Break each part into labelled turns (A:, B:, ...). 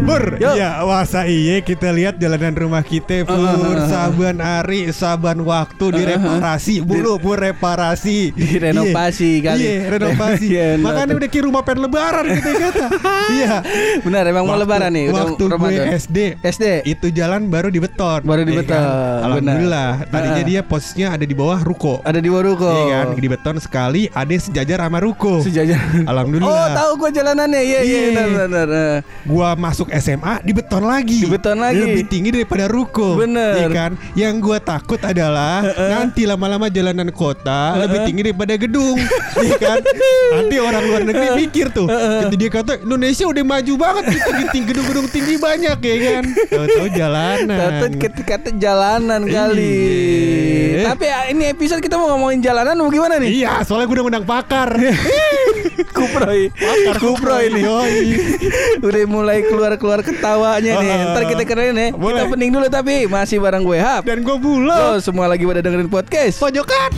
A: Mur, ya masa iya kita lihat jalanan rumah kita
B: Uh-huh,
A: Pur Saban hari, saban waktu direparasi Bulu pur reparasi
B: uh-huh. Direnovasi
A: Iya,
B: kali.
A: Iya, renovasi
B: Iya,
A: Makanya udah kayak rumah pengen lebaran kita kata Iya
B: Benar emang mau
A: Waktu-
B: lebaran nih udah
A: Waktu gue
B: Ramadan.
A: SD
B: SD.
A: Itu jalan baru dibeton
B: Baru
A: ya kan?
B: dibeton, benar.
A: Alhamdulillah Tadinya
B: Ah.
A: dia posnya ada di bawah ruko
B: Ada di Waruko.
A: Iya kan, dibeton sekali ada yang sejajar sama ruko
B: Sejajar. Oh,
A: Alhamdulillah
B: tahu gua jalanannya. Iya, iya,
A: Iya.
B: benar benar. benar.
A: gua masuk SMA di beton lagi.
B: Dibeton lagi.
A: Lebih tinggi daripada ruko.
B: Bener. Eh,
A: Iya kan? Yang gua takut adalah nanti lama-lama jalanan kota lebih tinggi daripada gedung. Iya kan? Nanti orang
B: Eh,
A: luar negeri mikir tuh. Jadi dia kata Indonesia udah maju banget gitu tinggi gedung-gedung tinggi banyak ya kan. Tahu-tahu jalanan.
B: Tahu kata jalanan kali.
A: Iya.
B: Tapi ya, ini episode kita mau ngomongin jalanan mau gimana nih?
A: Iya, soalnya gue udah ngundang pakar. Iya.
B: Kuproy.
A: pakar
B: Kuproy nih.
A: Yoi.
B: Udah mulai keluar-keluar ketawanya nih.
A: Ah,
B: Ntar kita keren ya. Kita
A: boleh.
B: pening dulu tapi masih bareng gue Hap.
A: Dan gue bulat.
B: Lo semua lagi pada dengerin podcast.
A: Pojokan.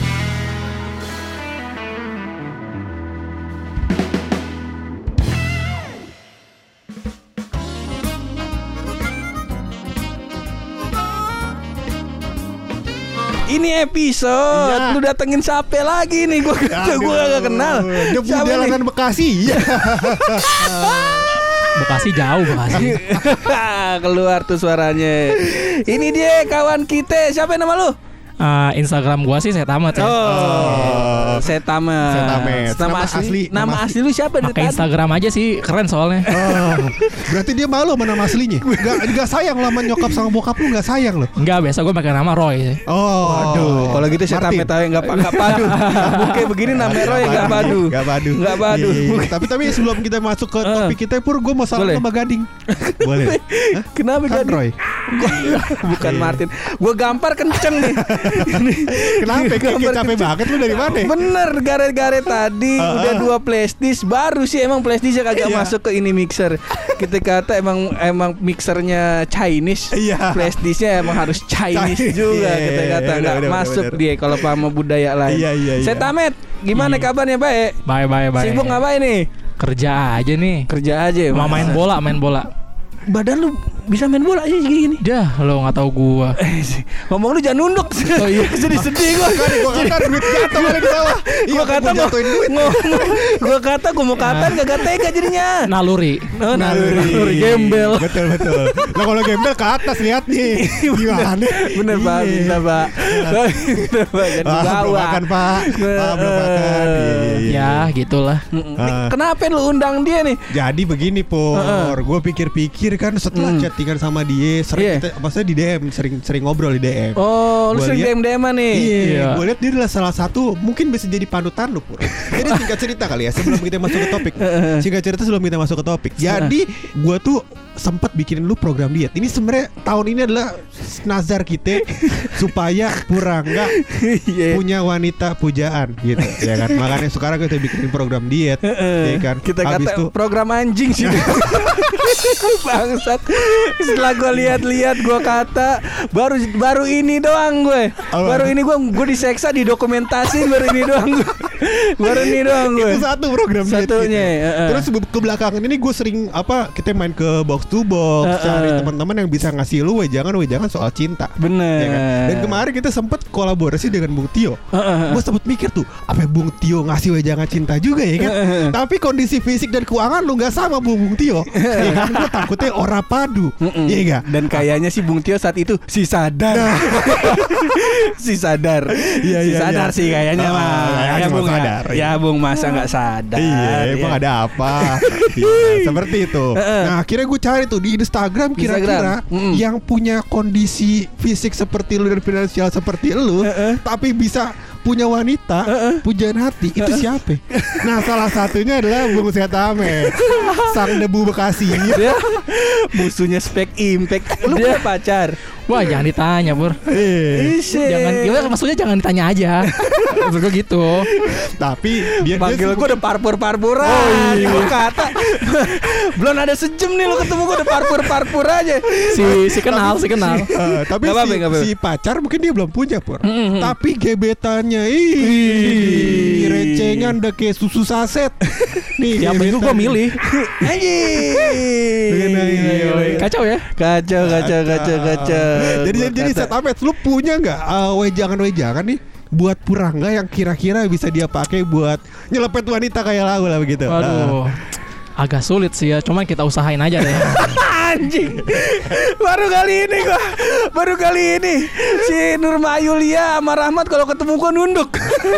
B: Ini episode
A: Iya.
B: Lu datengin siapa lagi nih Gue gak,
A: Aduh.
B: gua gak kenal
A: Debu
B: Siapa nih?
A: jalanan Bekasi. Iya.
C: Bekasi jauh Bekasi.
A: kan?
B: Keluar tuh suaranya Ini dia kawan kita Siapa nama lu?
C: Eh, Instagram gua sih saya tamat ya.
B: Oh, Setama.
A: Eh, Setamet.
B: Nama
A: Nama
B: asli,
A: asli-
B: nama,
A: nama
B: asli lu siapa dari
C: Pakai
B: tadi?
C: Instagram aja sih keren soalnya.
A: Oh, berarti dia malu sama nama aslinya. Gak, gak sayang lama nyokap sama bokap lu gak sayang loh.
C: Enggak biasa gua pakai nama Roy sih.
A: Oh, aduh.
B: Kalau gitu Setama tahu yang nggak pa- nggak padu. Mungkin begini nama Roy yang nggak padu.
A: Gak padu.
B: Nggak padu.
A: Iya, iya. Tapi tapi sebelum kita masuk ke topik kita pur gue mau salam
B: Boleh.
A: sama Gading. Boleh. Hah?
B: Kenapa
A: Kan
B: Gading?
A: Roy. Iya,
B: Gua- Bukan Martin. Gue gampar kenceng nih.
A: Kenapa? Kayak
B: Gambar
A: capek banget lu dari mana?
B: Bener gare-gare tadi udah dua plastis baru sih emang plastisnya kagak
A: Iya.
B: masuk ke ini mixer. Kita kata emang emang mixernya Chinese.
A: Iya.
B: Plastisnya emang harus Chinese
A: Chinese.
B: juga
A: Iya,
B: kita
A: iya,
B: kata
A: iya,
B: nggak
A: bener, bener,
B: masuk
A: bener.
B: dia kalau paham sama budaya lain.
A: Iya, iya, iya.
B: Setamet, gimana
C: Iya.
B: kabarnya, Pak?
C: Bye bye bye.
B: Sibuk ngapain nih?
C: Kerja aja nih.
B: Kerja aja.
C: Mau main
B: Masa.
C: bola, main bola.
B: Badan lu bisa main bola sih gini-gini.
C: Dah, lo nggak tahu gua.
B: Eh, sih. Ngomong lu jangan nunduk. Oh iya, jadi sedih gua.
A: Kan gue kata duit jatuh kali di bawah. Iya,
B: Gua kata
A: gua
B: mau
A: jatuhin duit.
B: ngomong. Gua kata gua mau kata gak tega jadinya.
C: Naluri.
B: Oh, naluri. naluri gembel. Iya,
A: Betul betul. Lah kalau gembel ke atas lihat nih. Gimana?
B: Bener
A: Iya.
B: pak, minta pak. Bener pak, jangan
A: Ah, belum
B: dibawa.
A: makan pak.
B: Eh,
A: Ah, belum makan. Iya, iya, iya.
C: Ya gitulah.
B: Mm-mm.
A: Ah.
B: Nih, Kenapa lu undang dia nih?
A: Jadi begini Pur,
B: Eh,
A: gue pikir-pikir kan setelah chattingan sama dia
B: Hmm. Iya.
A: sering kita, maksudnya di DM sering sering ngobrol di DM.
B: Oh, lu
A: Gua
B: sering
A: liat-
B: dm dm nih.
C: Iya.
A: Iya, gue lihat dia adalah salah satu mungkin bisa jadi panutan lu Pur. Jadi singkat cerita kali ya sebelum kita masuk ke topik.
B: Eh,
A: Singkat cerita sebelum kita masuk ke topik. Jadi gue tuh sempat bikinin lu program diet. Ini sebenarnya tahun ini adalah nazar kita supaya Purangga
B: Iya.
A: punya wanita pujaan gitu ya kan. Makanya sekarang kita bikinin program diet, ya kan.
B: Eh, Kita
A: Habis
B: kata
A: tuh-
B: program anjing sih. Bangsat. Setelah gue lihat-lihat gue kata baru baru ini doang gue.
A: Apa?
B: Baru ini gue gue diseksa di dokumentasi baru ini doang gue. Baru ini doang gue.
A: itu satu program diet
B: Satunya,
A: gitu.
B: heeh.
A: terus be- ke belakangan ini gue sering apa kita main ke box to box
B: Heeh.
A: cari teman-teman yang bisa ngasih lu wejangan wejangan soal cinta
B: Bener.
A: Ya kan? dan kemarin kita sempet kolaborasi dengan Bung Tio
B: Heeh.
A: gue sempet mikir tuh apa ya Bung Tio ngasih wejangan cinta juga ya kan
B: Heeh.
A: tapi kondisi fisik dan keuangan lu nggak sama Bung, Bung Tio ya kan gue takutnya ora padu
B: Mm-mm.
A: ya enggak
B: Dan kayaknya sih Bung Tio saat itu si sadar. si sadar.
A: Nah. Iya,
B: si
A: iya,
B: sadar
A: iya.
B: sih kayaknya
A: Ah,
B: mah.
A: kayaknya
B: Ya,
A: mah
B: Bung ya.
A: sadar,
B: Ya,
A: iya.
B: Bung masa nggak sadar.
A: Iya, emang
B: Ya.
A: ada apa? Iya, seperti itu.
B: Heeh.
A: Nah, akhirnya gue cari tuh di Instagram kira-kira
B: Instagram, mm.
A: yang punya kondisi fisik seperti lu dan finansial seperti lu,
B: Heeh.
A: tapi bisa punya wanita, pujaan hati itu siapa? Nah, salah satunya adalah Bung Sehat Ahmed. Sang debu Bekasi.
B: Dia musuhnya spek impact. Lu punya pacar.
C: Wah jangan ditanya pur
A: Eh,
B: Isye.
C: Jangan Gimana maksudnya jangan ditanya aja Maksud gue gitu
A: tapi dia dia
B: Panggil
A: sibuk-
B: gue udah parpur-parpuran
A: Oh, iya.
B: Gua kata Belum ada sejam nih lo ketemu gue udah parpur-parpur aja
C: Si, si kenal si kenal
A: Eh, tapi
B: Nggak apa-apa,
A: si,
B: nggak apa-apa.
A: si pacar mungkin dia belum punya pur.
C: Mm-mm.
A: Tapi gebetannya ih, recengan udah kayak susu saset. Nih,
C: Tiap minggu gue
A: gebetannya.
C: milih
B: Anjing
C: Kacau ya
B: Kacau kacau kacau kacau
A: Ah. Jadi jadi, jadi set Ahmed, lu punya nggak eh, wejangan-wejangan nih buat purangga yang kira-kira bisa dia pakai buat nyelepet wanita kayak lau lah begitu. Nah,
C: Waduh Agak sulit sih ya Cuman kita usahain aja deh
B: Anjing Baru kali ini gua Baru kali ini Si Nurma Yulia sama Rahmat kalau ketemu gua nunduk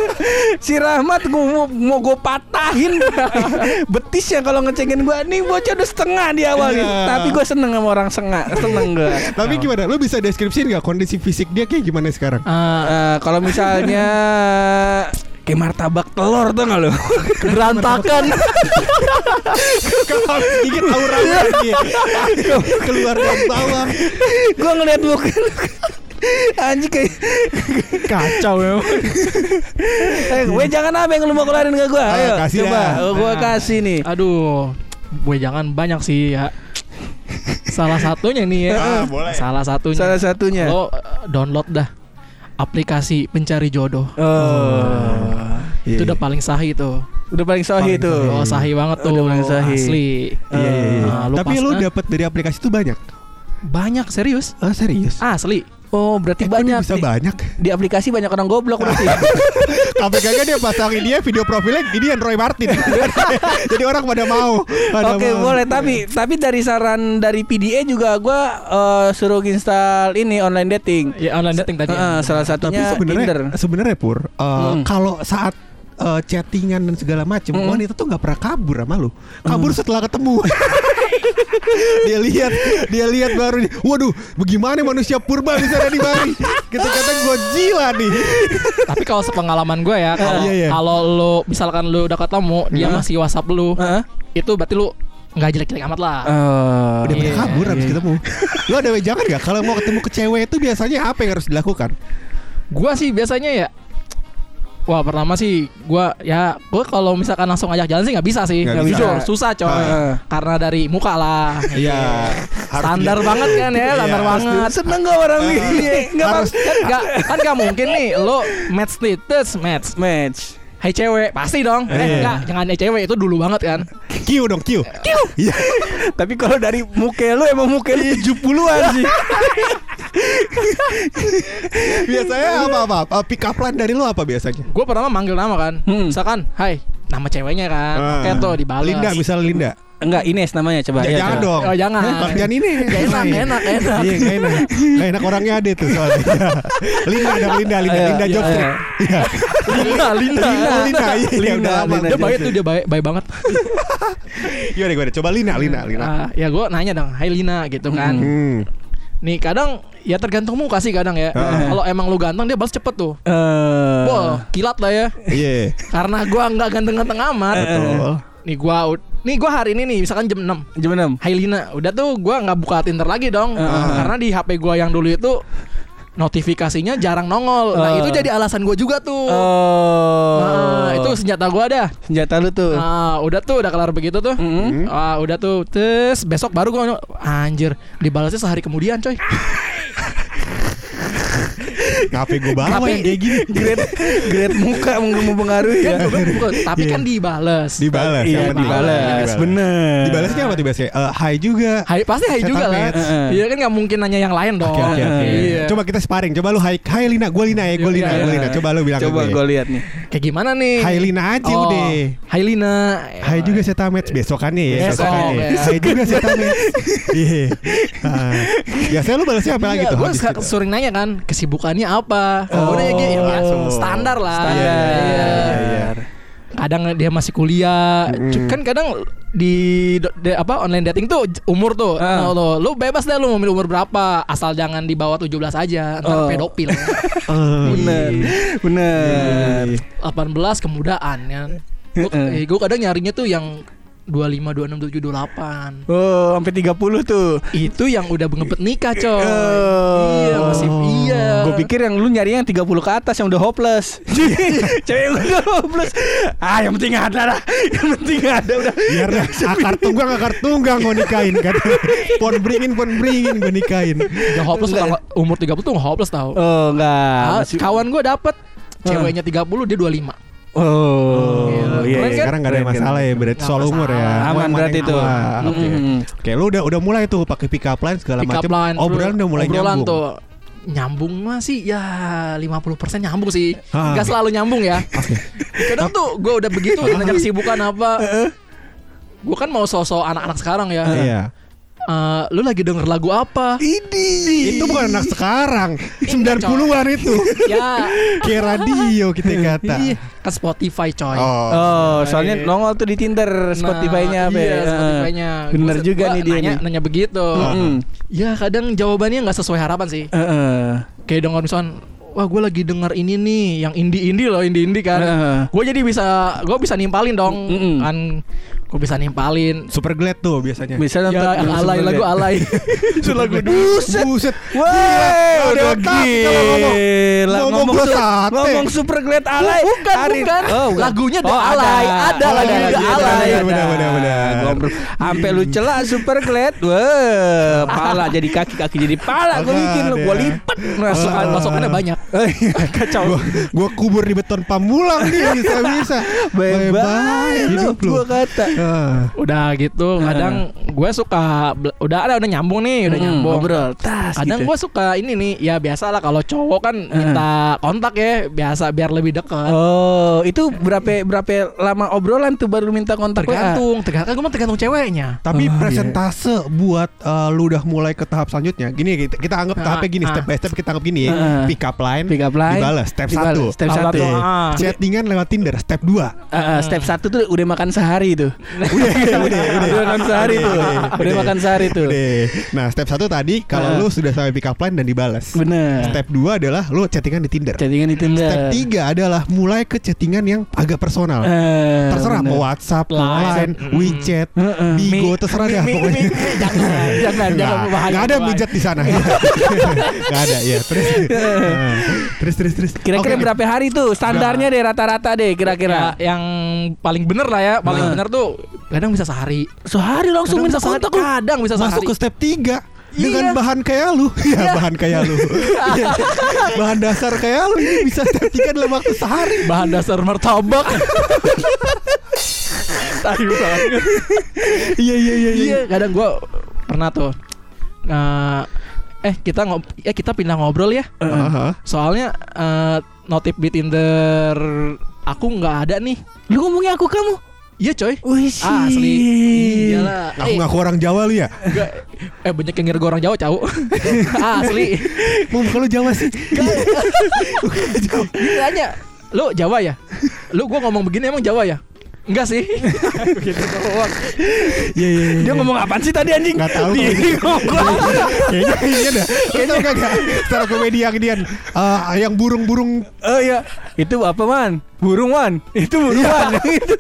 B: Si Rahmat gua mau, mau gue patahin Betisnya kalau ngecengin gua Nih bocah udah setengah di awal
A: Iya.
B: gitu. Tapi gua seneng sama orang sengah Seneng gua
A: Ah. Tapi gimana? Lu bisa deskripsiin nggak kondisi fisik dia kayak gimana sekarang?
C: Eh,
B: Eh, Kalau misalnya Kayak martabak telur tuh gak lo?
C: Berantakan
A: Kalau habis gigit aura lagi Iya. keluar dari bawah.
B: Gue ngeliat muka lu. Anjing kayak
C: Kacau ya
B: eh, Gue jangan apa yang lu mau keluarin ke gua
A: Ah,
B: Ayo
A: kasih
B: coba
A: dah.
B: Gue
C: Nah.
B: kasih nih
C: Aduh, gue jangan banyak sih ya. Salah satunya nih ya.
A: Ah, boleh.
C: Salah satunya.
B: Salah satunya
C: Lo eh, download dah aplikasi pencari jodoh.
B: Oh.
A: Iya,
C: Itu udah paling sahih tuh.
B: Udah paling sohi
A: Paling
B: itu.
A: sohi.
C: Oh, sahih banget tuh.
B: Udah paling sahih.
C: Asli.
A: Iya, iya, iya.
C: Nah, lu
A: Tapi
C: pas-
A: lu
C: eh,
A: dapat dari aplikasi itu banyak.
C: banyak serius.
A: Ah serius?
C: Asli.
B: Oh, berarti
A: Eh, kok dia
B: banyak.
A: bisa
B: Di-
A: banyak.
B: Di aplikasi banyak orang goblok berarti.
A: KPK nya dia pasangin dia video profilnya ini yang Roy Martin. Jadi orang pada mau. pada
B: Oke,
A: mau.
B: boleh tapi tapi dari saran dari PDA juga gua eh, suruh install ini online dating.
C: Ya online dating tadi.
B: Eh,
A: Ah,
C: ya.
B: salah
A: Tapi
B: satunya Tinder. Hmm.
A: sebenarnya sebenarnya pur eh, kalau saat eh, chattingan dan segala macam
B: Mm-mm.
A: wanita tuh nggak pernah kabur sama lu kabur
B: Hmm.
A: setelah ketemu dia lihat dia lihat baru dia, waduh bagaimana manusia purba bisa ada di Bali kita kata Godzilla nih
C: Tapi kalau sepengalaman gue ya, kalau
A: Iya, iya. Ah.
C: kalau lu misalkan lu udah ketemu, dia masih WhatsApp lu,
B: Heeh.
C: itu berarti lu nggak jelek-jelek amat lah.
A: Ah,
B: Eh,
A: udah pernah
C: Iya,
A: kabur habis
C: iya.
A: ketemu lu ada wejangan nggak kalau mau ketemu ke cewek itu biasanya apa yang harus dilakukan
C: Gua sih biasanya ya Wah pertama sih gua ya gua kalau misalkan langsung ajak jalan sih nggak bisa sih
A: Nggak
C: Nggak
A: bisa.
C: jujur, susah coy
A: Ah.
C: karena dari muka lah
A: Iya harus
C: standar
A: dilihat.
C: banget kan ya standar
A: Iya.
C: banget
B: seneng gak orang
A: Eh,
B: ini? Enggak
A: harus-
C: kan nggak kan nggak mungkin nih lo match status match
B: match.
C: Hai cewek pasti dong
A: Iya.
C: eh enggak jangan eh cewek itu dulu banget kan
A: Q dong Q Iya
B: Tapi kalau dari muka lu emang muka lu 70-an sih.
A: Biasanya apa-apa Eh, Pick up line dari lu apa biasanya
C: Gua pertama manggil nama kan
B: Hmm.
C: misalkan Hai nama ceweknya kan
A: Ah.
C: oke tuh dibales
A: Linda misalnya Linda
B: Enggak, Ines namanya coba.
A: Ya,
B: Ayo,
A: jangan
B: coba.
A: dong.
C: Oh, jangan.
A: Eh, Kerjaan ini.
C: Gak enak, gak enak, gak enak.
A: Iya, gak enak. Gak enak orangnya ada tuh soalnya. Linda dong, Linda, Linda,
B: Ayo,
A: Linda
B: iya,
A: Job Street.
B: iya.
A: Iya.
C: Linda Linda
A: Linda, Linda. Iya, Iya,
B: Linda,
A: udah lama.
B: Linda.
C: dia baik tuh dia baik baik banget
A: Gimana, gimana? Coba Lina, Lina, Lina.
C: Ah, ya gue nanya dong, Hai Lina gitu kan.
A: Hmm.
C: Nih kadang ya tergantung muka sih kadang ya.
A: Heeh.
C: Kalau emang lu ganteng dia balas cepet tuh.
B: Eh.
C: Wah, kilat lah ya.
A: Iya.
C: Karena gua nggak ganteng-ganteng amat.
A: Betul.
C: Nih gua ud- nih gua hari ini nih misalkan jam 6.
B: Jam enam.
C: Hai Lina, udah tuh gua nggak buka Tinder lagi dong. Karena di HP gua yang dulu itu notifikasinya jarang nongol. Nah,
B: Eh.
C: itu jadi alasan gua juga tuh.
B: Oh.
C: Nah, itu senjata gua dah.
B: senjata lu tuh.
C: Nah, udah tuh udah kelar begitu tuh.
B: Mm-mm.
A: Hmm.
C: Ah, udah tuh, terus besok baru gue anjir dibalasnya sehari kemudian, coy.
A: Ngapain gue bawa
C: Tapi-
A: yang kayak gitu? gini?
B: grade grade muka meng- mempengaruhi
A: Iya.
B: ya.
C: Bukan, bukan. tapi kan dibales.
A: Dibalas. yang
B: Iya
A: penting.
B: dibalas, bener.
A: Dibalasnya apa tuh biasanya? Eh, Hai juga.
C: Hai pasti hai
A: Setan
C: juga lah.
A: match.
C: Heeh. Iya kan nggak mungkin nanya yang lain dong.
A: Oke, oke, oke.
C: Iya.
A: Coba kita sparring. Coba lu hai, hai Lina, gue Lina ya, gue
C: Iya,
A: Lina,
C: iya,
A: gue
C: iya.
A: Lina. Coba lu bilang ke
B: Coba
A: gue.
B: gue lihat nih.
C: Kayak gimana nih?
A: Hai Lina aja
C: Oh,
A: udah.
C: Hai Lina.
A: Hai juga Setamets besokannya ya
C: Besok,
A: besokannya.
C: ya.
A: Hai juga Setamets. Iya. Ah, Biasanya lu balasnya apa lagi
C: Iya,
A: tuh?
C: gue
A: habis
C: suka-
A: itu?
C: sering nanya kan kesibukannya apa. Oh,
A: Oh. iya,
C: gitu, ya, standar lah.
A: Standar.
C: Iya.
A: Iya, iya.
C: kadang dia masih kuliah Cu- kan kadang di, do- di- apa online dating tuh j- umur tuh
B: Ah.
C: Nah, lo lo bebas deh lo mau milih umur berapa asal jangan di bawah 17 aja ntar
B: Oh.
C: pedofil
A: Eh,
B: Bener, Iya,
A: Iya.
B: bener.
C: 18 kemudaan kan gue
B: Heeh.
C: eh, gua kadang nyarinya tuh yang 25, 26, 27, 28
B: Oh, sampai 30 tuh.
C: itu yang udah ngebet nikah coy
B: Oh.
C: iya masih iya
B: Gue pikir yang lu nyari yang 30 ke atas yang udah hopeless. Cewek yang udah hopeless. Ah, yang penting ada lah. Yang penting ada udah.
A: Biar ah, deh, akar tunggang akar tunggang mau nikahin kan. pon beringin pon beringin gue nikahin.
C: udah hopeless tuh tanggal- umur 30 tuh hopeless tau
B: Oh, enggak.
C: Ah,
B: Masih-
C: kawan gue dapet ceweknya 30 dia 25
B: Oh, iya,
C: Gila. Keren
B: iya.
C: kan?
A: Sekarang nggak ada
B: Keren,
A: masalah
B: keren.
A: ya berarti
C: Nggak
A: soal umur ya.
C: masalah.
A: Mau
B: Aman
A: yang mana
B: berarti Mm-hmm.
A: yang
B: tuh.
A: tua. Oke.
B: Mm-mm.
A: Oke, lu udah udah mulai tuh pakai pick up line segala
C: Pick up
A: macam.
C: line,
B: oh,
A: Obrolan
C: terus
A: udah mulai
C: obrolan
A: nyambung.
C: tuh nyambung mah sih ya 50% nyambung sih
A: Ah.
C: nggak selalu nyambung ya kadang tuh gue udah begitu ditanya kesibukan apa gue kan mau sosok anak-anak sekarang ya
A: Iya.
C: Eh, lu lagi denger lagu apa
B: Idi.
A: Itu bukan anak sekarang. 90-an itu.
C: ya
A: Kayak radio kita kata.
C: iya kan Spotify coy Nah,
A: Oh.
B: Nah. Oh, soalnya nongol tuh di Tinder Spotify-nya apa
C: iya,
B: ya?
C: Spotify-nya.
B: Bener
C: Gua-
B: juga
C: gua
B: nih dia
C: nanya,
B: nih. Mm.
C: nanya begitu.
B: Mm-mm.
C: Ya kadang jawabannya nggak sesuai harapan sih.
B: Eh, Heeh.
C: Kayak denger misalkan Wah gue lagi denger ini nih Yang indie-indie loh Indie-indie kan
B: Heeh.
C: Gue jadi bisa Gue bisa nimpalin dong
B: Mm-mm.
C: Kan Gue bisa nimpalin
A: Super glad tuh biasanya.
B: Bisa nonton
C: Ya yang alay Lagu alay
A: Itu lagu
B: Buset.
A: Buset.
B: Wah,
A: Gila,
B: udah
A: udah otak kalau ngomong.
B: gila.
A: Ngomong gua sate.
B: ngomong super great alay. Oh,
C: Bukan, bukan. Lagunya udah alay. Ada
A: Oh,
C: lagunya
B: iya,
A: ada,
C: udah
A: ada,
C: alay
A: ada, benar, benar, benar.
B: Sampai lu celak super great. Wah, pala jadi kaki, kaki jadi pala. Gue
A: Agak
B: bikin lu
A: ada.
B: gua lipat.
C: Masukan- Masukannya banyak
B: Eh, iya, Kacau.
A: Gua, gua kubur di beton pamulang nih bisa bisa.
B: Bye bye lu
A: hidup lu.
B: gua kan- kata.
A: Ah.
C: Udah gitu Kadang gue suka bel- Udah ada udah nyambung nih Udah
B: Mm,
C: nyambung
B: ngobrol, tas
C: Kadang
B: gitu.
C: gue suka ini nih Ya biasalah Kalau cowok kan Minta kontak ya Biasa biar lebih dekat
B: Oh, itu berapa berapa lama obrolan tuh baru minta kontak WA?
C: Tergantung Tergantung Gue tergantung ceweknya
A: Tapi
B: Oh, iya.
A: presentase buat eh, lu udah mulai ke tahap selanjutnya. Gini kita, kita anggap
C: Ah,
A: tahapnya gini
C: ah.
A: step by step kita anggap gini ya.
B: Ah.
A: Pick up line,
B: Pick up line,
A: dibalas step
B: dibalas,
A: satu.
B: step
A: Awal
B: satu.
A: tuh.
C: Ah.
A: Chattingan lewat Tinder step 2.
B: Eh, eh, step satu tuh udah makan sehari tuh.
A: Udah, udah, udah.
B: Udah makan sehari tuh. Udah makan sehari tuh.
A: Udah. Nah, step satu tadi kalau
B: Ah.
A: lu sudah sampai pick up line dan dibalas.
B: Bener. kan
A: Step 2 adalah lu chattingan di Tinder.
B: Chattingan di Tinder.
A: Step 3 adalah mulai ke chattingan yang agak personal.
B: Eh,
A: terserah
B: bener.
A: mau WhatsApp, mau
C: Line.
A: Line, WeChat,
B: Heeh.
A: Bigo,
B: Hmm. Mi-
A: terserah
B: mi-
A: dah
B: mi-
A: pokoknya.
B: mi- mi- jangan, jangan, jangan
A: Nggak
B: bahaya,
A: nggak ada
B: bahaya.
A: mijat di sana. Nggak ada ya. Terus, Nah, terus, terus, terus.
B: Kira-kira
A: Oke.
B: berapa hari tuh standarnya deh rata-rata deh kira-kira.
C: Ya, Yang paling bener lah ya Paling bener tuh Kadang bisa sehari
B: Sehari langsung
C: Kadang
B: minta
C: bisa sehari,
B: kontak lu.
C: Kadang bisa
A: Masuk
C: sehari
A: ke step 3 dengan
C: Iya.
A: bahan kayak lu, ya bahan kayak lu, Iya. bahan dasar kayak lu ini bisa step 3 dalam waktu sehari.
C: Bahan dasar martabak Tahu banget
A: Iya iya iya. iya.
C: Iya, kadang gue pernah tuh. Nah, eh kita ngob ya kita pindah ngobrol ya.
A: Aha.
C: Soalnya eh, notif di Tinder aku nggak ada nih.
B: Lu ngomongnya aku kamu.
C: Iya coy.
B: Wih,
C: Asli. Iyalah.
A: Aku
C: eh,
A: ngaku orang Jawa lu ya?
C: nggak- eh banyak yang ngira gua orang Jawa, Cau. Ah, Asli.
A: Mau kalau Jawa sih.
C: Tanya, lu Jawa ya? Lu gua ngomong begini emang Jawa ya? Enggak sih. Begitu doang.
A: Iya iya. iya.
B: Dia ngomong apaan sih tadi anjing?
A: Nggak tahu. gitu.
B: Di-
A: Kayaknya iya dah. Lu tau kagak? Secara komedian kalian eh, yang burung-burung
B: Oh iya, itu apa man? Burung man, itu burung
A: Iya.
B: man. Itu.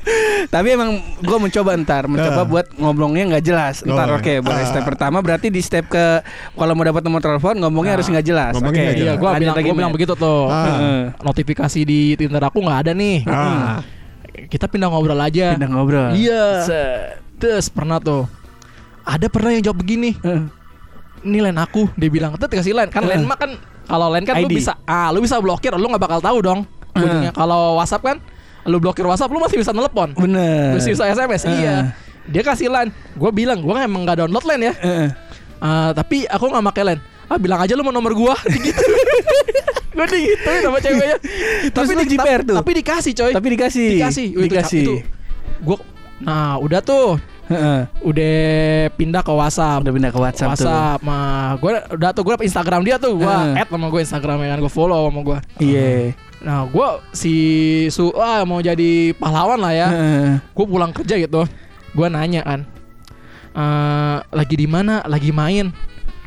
B: Tapi emang gue mencoba ntar, mencoba
A: Ah.
B: buat ngomongnya nggak jelas. Ntar
A: Oh.
B: oke, boleh
A: Ah.
B: step pertama berarti di step ke kalau mau dapat nomor telepon ngomongnya
C: Ah.
B: harus nggak jelas.
A: Ngomongnya nggak
C: Iya,
A: jelas.
C: gua
B: lanjut
C: bilang
B: lagi,
C: gua bilang
B: Man.
C: begitu tuh.
A: Ah.
C: Notifikasi di Tinder aku nggak ada nih.
A: Ah.
C: Kita pindah ngobrol aja.
B: Pindah ngobrol.
C: Iya.
B: Se-
C: Terus pernah tuh ada pernah yang jawab begini,
B: Eh.
C: ini line aku, dia bilang, "Tet kasih line." Kan line mah kan kalau line kan lu
B: ID.
C: bisa ah lu bisa blokir, lu nggak bakal tahu dong. Ujungnya kalau WhatsApp kan lu blokir WhatsApp lu masih bisa telepon.
B: Bener.
C: Masih bisa SMS.
B: Eh.
C: Iya. Dia kasih line. Gue bilang, gue emang nggak download line ya.
B: Eh.
C: Ah, tapi aku nggak pakai line. Ah bilang aja lu mau nomor gua gitu. gue digituin sama ceweknya.
B: Terus lu
C: di-
B: jiper tuh?
C: Tapi dikasih coy
B: Tapi dikasih.
C: dikasih Wih, itu cap-
B: Dikasih.
C: itu gua nah udah tuh
B: Heeh.
C: udah pindah ke WhatsApp.
D: Udah pindah ke WhatsApp,
C: WhatsApp mah gue udah tuh gue Instagram dia tuh gue
D: Heeh.
B: Eh.
C: add sama gue Instagramnya kan gue follow sama gue.
D: tuh. Iya.
C: Nah gue si su ah, mau jadi pahlawan lah
B: Eh.
C: ya.
D: Heeh.
C: Gue pulang kerja gitu. Gue nanya kan, "Eh, lagi di mana? Lagi main?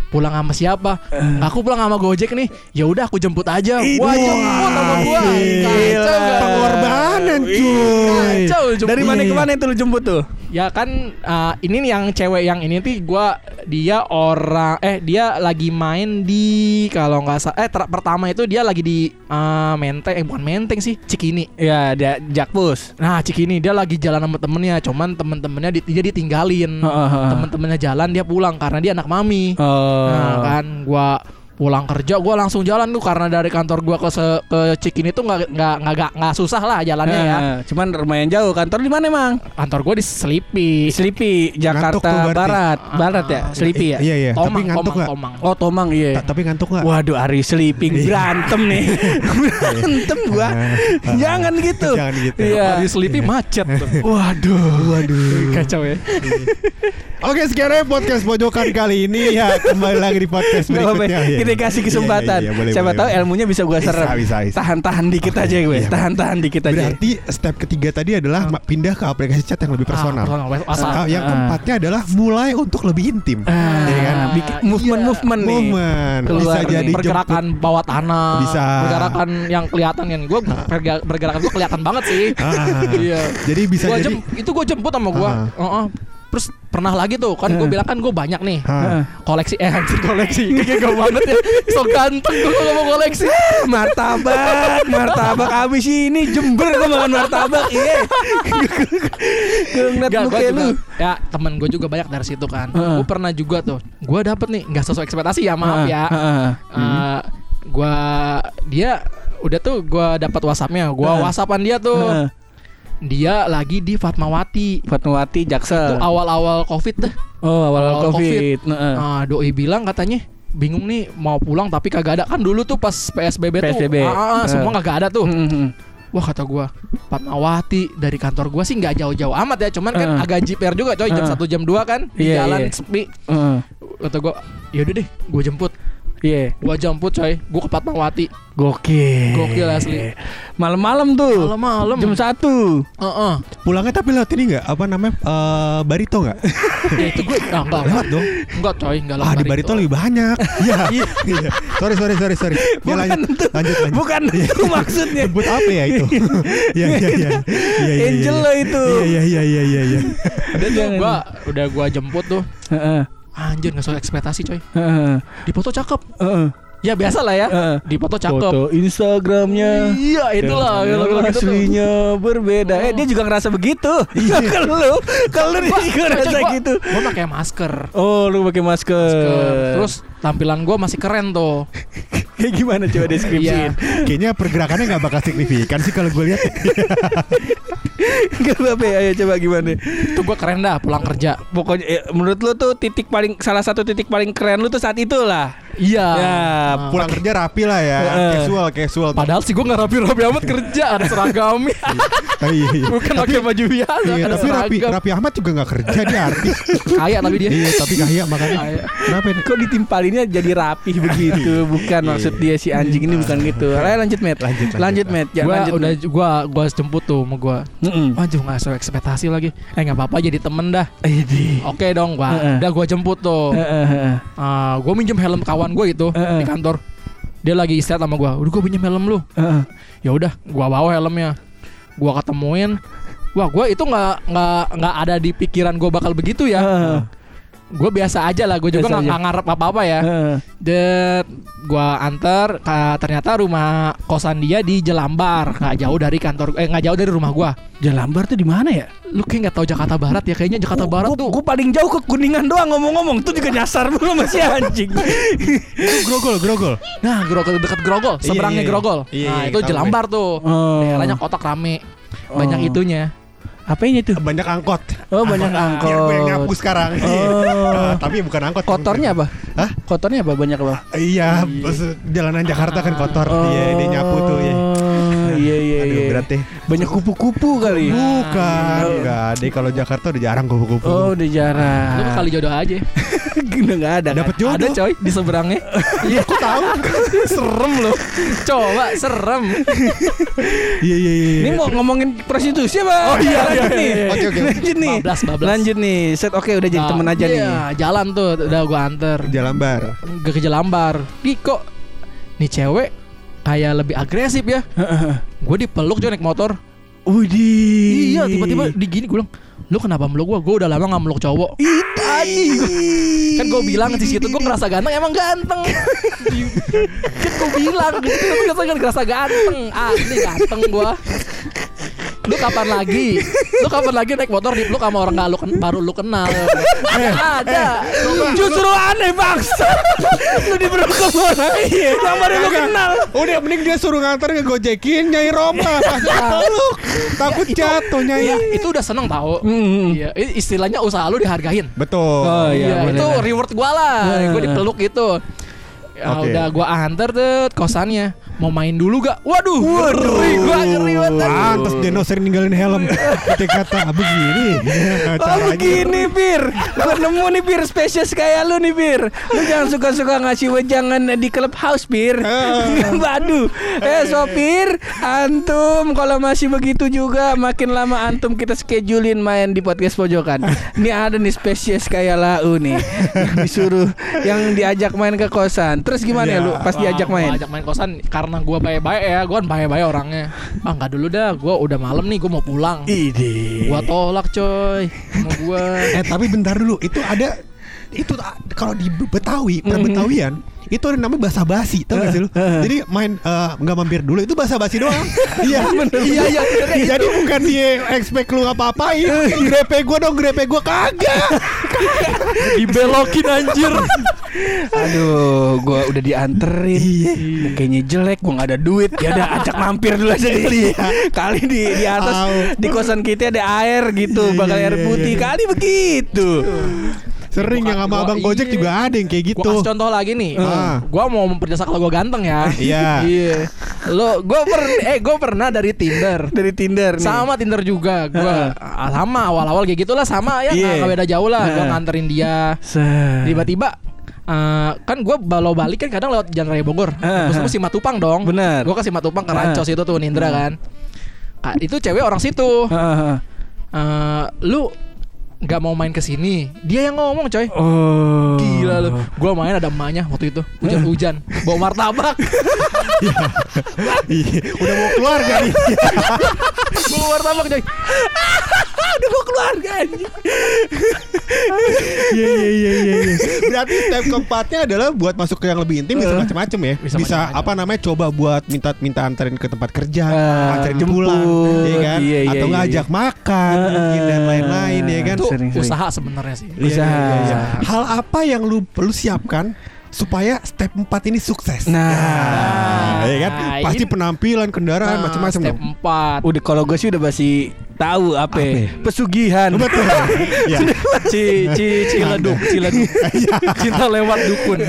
C: Pulang sama siapa?
B: Eh.
C: Aku pulang sama Gojek nih. Ya udah aku jemput aja. Wah jemput sama gue. Kacau nggak?
A: Pengorbanan cuy.
C: Kacau jemput.
B: Dari mana ke mana itu lu jemput tuh?
C: Ya kan uh, ini nih yang cewek yang ini tuh gua dia orang eh dia lagi main di kalau nggak salah eh ter- pertama itu dia lagi di uh, Menteng eh bukan Menteng sih Cikini.
D: Ya,
B: Iya,
D: dia Jakpus.
C: Nah Cikini dia lagi jalan sama temennya cuman temen-temennya di, dia ditinggalin
D: Heeh.
C: temen-temennya jalan dia pulang karena dia anak mami.
D: Oh.
C: Nah kan gua pulang kerja gua langsung jalan tuh karena dari kantor gua ke se- ke Cikini tuh nggak nggak nggak nggak- nggak susah lah jalannya ya.
D: Heeh. Cuman lumayan jauh. Kantor di mana emang?
C: Kantor gua di Selipi.
D: Selipi,
A: Ngantuk tuh
D: Jakarta
A: berarti.
D: Barat.
C: Ah,
D: Barat ya, Selipi ya.
A: Iya iya. Tapi
C: Tomang,
A: ngantuk
C: Tomang,
A: nggak?
C: Tomang.
D: Oh, Tomang
A: Ta-
D: iya.
A: Tapi ngantuk nggak? Iya.
D: Waduh, Ari sleeping berantem nih.
B: Berantem gua. Jangan gitu.
A: Ah, Jangan gitu.
C: Iya. Hari Sleepy macet.
A: Waduh. Waduh.
C: Kacau ya.
A: Oke sekian aja podcast pojokan kali ini ya kembali lagi di podcast
D: Gak apa-apa, ya.
A: berikutnya. Iya,
D: kita kasih
A: iya. Iya, iya,
D: kesempatan.
A: iya, boleh,
D: Siapa
A: boleh,
D: tahu
A: boleh.
D: ilmunya bisa gua
A: Bisa,
D: serap.
A: bisa, bisa.
D: Tahan-tahan dikit
A: Oke,
D: aja gue,
A: iya.
D: tahan-tahan dikit aja.
A: Berarti step ketiga tadi adalah ma- pindah ke aplikasi chat yang lebih personal.
C: Ah, personal, WhatsApp.
A: Ah, yang
D: Ah.
A: keempatnya adalah mulai untuk lebih intim. Iya kan?
D: Ah, bikin movement-movement nih.
A: Momen bisa
D: Keluar nih.
A: jadi
C: pergerakan bawah tanah.
A: Bisa.
C: Pergerakan yang kelihatan kan. Gue pergerakan gue kelihatan banget sih.
A: Ah.
C: Iya.
A: jemput. Jadi bisa
C: Gua
A: jadi
C: jem- itu gue jemput sama gue.
A: Ah. Eh.
C: Terus pernah lagi tuh kan gue
D: Ah.
C: bilang kan gue banyak nih
D: Nah.
A: Ah.
C: koleksi eh anjir koleksi kayak gue banget ya so ganteng gue kalau mau koleksi
B: Martabak, martabak abis ini jember gua makan martabak. Iya. Gua
A: Eh,
B: ngeliat
C: Gak,
B: muka
C: gue juga
B: lu.
C: Ya temen gue juga banyak dari situ kan
D: Heeh.
C: Gue pernah juga tuh Gue dapet nih Gak sesuai ekspektasi ya maaf ya
B: Ah,
D: Heeh.
C: Eh, Gue Dia Udah tuh gue dapet whatsappnya Gue
D: Heeh.
C: whatsappan dia
B: Ah,
D: Heeh.
C: tuh Dia lagi di Fatmawati
D: Fatmawati
C: Itu
D: Jaksel.
C: awal-awal covid dah
D: Oh, awal
C: awal
D: Covid. Heeh.
C: Ah, Doi bilang katanya Bingung nih mau pulang tapi kagak ada Kan dulu tuh pas PSBB,
D: PSBB.
C: tuh ah, ah,
D: Heeh.
C: Semua kagak ada tuh
B: Hmm,
D: Mm-mm.
C: Wah kata gue Fatmawati dari kantor gue sih nggak jauh-jauh amat ya Cuman kan
D: Heeh.
C: agak jiper juga coy Jam
D: Heeh.
C: 1 jam 2 kan Di
D: Hmm. Iya,
C: jalan
D: iya.
C: sepi
B: Ah,
D: Heeh.
C: Kata gue Yaudah deh gue jemput
D: Iya.
C: Gue jemput coy Gue ke Fatmawati
D: Gokil.
C: Gokil asli.
D: Malam-malam tuh.
C: Malam-malam.
D: Jam 1.
C: Heeh.
A: pulangnya tapi lewat ini nggak? Apa namanya? Eh, barito nggak?
C: Ya itu gue ah, enggak, enggak
A: lewat dong.
C: Enggak coy Enggak
A: Ah di barito lebih banyak. Iya. Iya. Sorry sorry sorry sorry. Ya,
B: Bukan
A: lanjut,
B: itu.
A: lanjut lanjut.
B: Bukan
C: Iya,
B: itu maksudnya.
A: Jemput apa ya itu? Iya iya iya. Iya, iya,
B: Angel
A: iya.
B: lo itu.
A: Iya iya iya iya iya.
C: Udah tuh gue Udah gue jemput tuh
D: Heeh.
B: Ah,
C: Anjir gak sesuai ekspektasi coy
D: Heeh.
C: Di foto cakep
B: Ah,
D: Heeh.
C: Ya biasa lah
B: Eh,
C: ya
D: Heeh.
C: Di foto cakep
D: Foto Instagramnya.
C: Iya itulah
D: Yang
C: Kalau kalau gitu tuh
D: aslinya berbeda. Eh dia juga ngerasa begitu.
B: Kalau kalau dia juga
C: Coy,
B: rasa
C: gua-
B: gitu. Eh.
C: Gua pakai masker
D: Oh, lu pakai masker.
C: Ke- Terus tampilan gue masih keren tuh
D: kayak Eh, gimana coba deskripsiin?
C: Iya
A: Kayaknya pergerakannya nggak bakal signifikan sih kalau gue lihat.
D: Gak apa-apa, ya, ayo coba gimana?
C: Itu gue keren dah pulang kerja
D: Pokoknya eh, menurut lu tuh titik paling salah satu titik paling keren lu tuh saat itulah.
C: Iya
D: Ya,
C: Nah,
A: Pulang kerja rapi lah ya.
D: Heeh.
A: Casual casual.
C: Padahal sih gue gak rapi-rapi amat kerja Ada seragamnya
A: Ah, iya, iya.
C: Bukan pakai baju biasa
A: Iya,
C: Ada
A: tapi Rapi,
C: seragam
A: Rapi Ahmad juga nggak kerja dia artis.
C: Kaya tapi dia
A: iya, tapi kaya makanya.
C: Kaya.
A: Kenapa ini?
D: Kok ditimpalinnya jadi rapih begitu? Bukan maksud dia si anjing ini bukan gitu. Ayo lanjut, Met.
A: Lanjut, lanjut,
D: lanjut, Met. Ya,
C: gua
D: lanjut.
C: udah Oh. gua gua jemput tuh sama gua.
D: Mm-mm.
C: Waduh nggak sesuai ekspektasi lagi. Eh nggak apa-apa jadi temen dah.
D: Eh, di.
C: Oke dong gua.
D: Heeh.
C: Udah gua jemput tuh.
D: Eh, eh, eh.
C: Ah, gua minjem helm kawan gua itu
D: Heeh.
C: di kantor. Dia lagi istirahat sama gua. Udah gua pinjem helm lu.
D: Heeh.
C: Ya udah gua bawa helmnya. Gua ketemuin. Wah gua itu nggak nggak nggak ada di pikiran gua bakal begitu ya.
D: Heeh.
C: Gua biasa aja lah. Gua juga
D: Biasa
C: nggak
D: aja.
C: nggak ngarep apa-apa ya.
D: Heeh.
C: Ded, gua anter. ah, ternyata rumah kosan dia di Jelambar, nggak jauh dari kantor, eh nggak jauh dari rumah gua.
D: Jalan Lambar tuh di mana ya?
C: Lu kayak nggak tahu Jakarta Barat ya? Kayaknya Jakarta Barat
B: Gua-
C: tuh.
B: Gua paling jauh ke Kuningan doang ngomong-ngomong. Tuh juga nyasar mulu masih anjing.
A: Grogol, grogol.
C: Nah, Grogol dekat Grogol,
A: Iya, iya,
C: seberangnya
A: iya.
C: Grogol.
A: Iya,
C: nah,
A: iya,
C: itu
A: tahu
C: Jelambar tuh.
D: Oh.
C: Daerahnya kotak rame. Banyak
D: Oh.
C: itunya.
D: Apanya tuh?
A: Banyak angkot.
D: Oh, banyak
A: Biar gue yang nyapu
D: angkot.
A: sekarang. Iya. Ah,
D: Oh.
A: Tapi bukan angkot.
D: Kotornya apa?
A: Hah?
D: Kotornya apa banyak apa?
B: Oh,
A: Iya, bus- jalanan Jakarta kan kotor. Iya, dia nyapu tuh. Iya.
D: Oh. Iya iya
A: Aduh,
D: iya.
A: ibaratnya.
B: Banyak kupu-kupu kali.
A: Bukan, enggak. Deh kalau Jakarta udah jarang kupu-kupu.
B: Oh, udah jarang.
C: Lu kali jodoh aja.
B: Udah nggak ada. kan?
A: Dapat jodoh.
C: Ada coy di seberangnya.
A: Iya, aku tahu.
C: serem loh. Coba serem.
A: Iya, iya, iya.
B: Ini mau ngomongin prostitusi apa? Oh iya, lanjut nih.
A: Oke, oke.
B: Lanjut nih.
C: Bablas, bablas.
B: Lanjut nih. Set oke udah jadi
C: Ah,
B: temen aja nih.
C: iya, jalan tuh udah gua anter.
A: Jalan bar.
C: Gak ke Jelambar. Di kok nih cewek kayak lebih agresif ya. Gue dipeluk coy naik motor.
B: Widih.
C: Iya, tiba-tiba di gini gue bilang, "Lu kenapa meluk gua? Gua udah lama gak meluk cowok." Anjing. Kan gue bilang di situ gue ngerasa ganteng emang ganteng. kan gue bilang di situ gue ngerasa, ngerasa ganteng. Asli ganteng gua. Lu kapan lagi? Lu kapan lagi naik motor dipeluk sama orang gak lu ken- baru lu kenal? Gak ada.
B: Justru aneh bangsa. lu diberi ke orang yang baru lu kenal.
A: Iya, Udah mending dia suruh nganter ngegojekin nyai Roma. Takut jatuh
C: Iya,
A: nyai.
C: itu udah seneng tau.
B: Hmm,
C: Iya, i- istilahnya usaha lu dihargain.
B: Oh,
A: Betul.
B: iya,
C: Iya,
B: bener.
C: itu reward gua lah.
B: iya,
C: Gua dipeluk gitu. Ya
A: Oke.
C: udah gua antar tuh kosannya. Mau main dulu gak? Waduh, ngeri gua ngeri banget.
A: Pantes Deno sering ninggalin helm Kata-kata begini
B: Oh
A: Caranya.
B: begini Bir Gue nemu nih Bir Spesies kayak lu nih Bir Lu jangan suka-suka ngasih wejangan di clubhouse Bir Waduh Eh sopir Antum Kalau masih begitu juga Makin lama antum kita schedulein main di podcast pojokan Ini ada nih spesies kayak lau nih Yang disuruh Yang diajak main ke kosan Terus gimana ya lu pas
C: Wah,
B: diajak
C: gua
B: main
C: ajak main kosan karena gua baik-baik ya, gua kan baik-baik orangnya. Ah, enggak dulu dah, gua udah malam nih, gua mau pulang.
B: Ide
C: Gua tolak, coy. Sama gua.
A: Eh tapi bentar dulu Itu ada Itu ah, kalau di Betawi Per Betawian Itu ada namanya bahasa basi Tau gak sih lu Jadi main Mm-hmm. eh, nggak mampir dulu Itu bahasa basi doang Iya Iya iya Jadi bukan dia Expect lu ngapa-apain Grepe gue dong Grepe gue kagak
C: Dibelokin anjir.
B: Aduh, gua udah dianterin. Kayaknya jelek, gua nggak ada duit. Ya udah ajak mampir dulu aja kali. ya. Kali di di atas
A: Au.
B: di kosan kita ada air gitu,
A: Iya,
B: bakal
A: iya,
B: air
A: iya,
B: putih.
A: iya.
B: Kali begitu.
A: Sering
C: Gua-
A: yang sama
C: gua-
A: abang Gojek
C: iya.
A: juga ada yang kayak
C: Gua
A: gitu
C: kasih contoh lagi nih.
A: Ah.
C: Gua mau memperjasa kalau gua ganteng ya.
A: Iya.
C: Iya. Lo gua per eh gua pernah dari Tinder.
B: Dari Tinder nih.
C: Sama Tinder juga gua ah, sama awal-awal kayak gitulah sama ya
B: Iya.
C: nggak nggak beda jauh lah gua
B: Nah.
C: nganterin dia.
B: Se-
C: Tiba-tiba eh, kan gua balau balik kan kadang lewat Jalan Raya Bogor.
B: Ah,
C: Terus
B: ah.
C: gua Simatupang dong.
B: Benar.
C: Gua ke Simatupang ke Rancos itu tuh Nindra kan. Ah, itu cewek orang situ.
B: Heeh.
C: Eh, lu nggak mau main ke sini. Dia yang ngomong, coy.
B: Oh.
C: Gila lu. Gua main ada emaknya waktu itu. Hujan-hujan. Bawa martabak.
A: Iya, Udah mau keluar jadi
C: Bawa martabak coy. Udah gua keluar guys.
A: Iya iya iya iya. iya. Berarti step keempatnya adalah buat masuk ke yang lebih
B: Eh.
A: intim bisa macam-macam ya. Bisa,
C: Bisa macam-macam.
A: apa namanya coba buat minta minta anterin ke tempat kerja,
B: Ah,
A: anterin
B: jemput,
A: pulang, ya kan?
B: iya, iya,
A: Atau
B: iya, Eh,
A: ngajak makan mungkin dan lain-lain ya kan.
C: Itu
B: Sering, sering.
C: usaha sebenarnya sih.
A: Iya, iya, iya, iya.
B: Usaha.
A: Hal apa yang lu perlu siapkan supaya step 4 ini sukses?
B: Nah.
A: ya kan?
C: Nah,
A: Pasti
C: ini- Nah,
A: penampilan, kendaraan, macam-macam
C: Step
A: dong.
C: 4.
B: Udah kalau gue sih udah pasti tahu apa, ya?
A: Apa?
B: pesugihan.
A: Betul. Iya.
B: ci ci ciledug, ciledug. Cinta lewat dukun.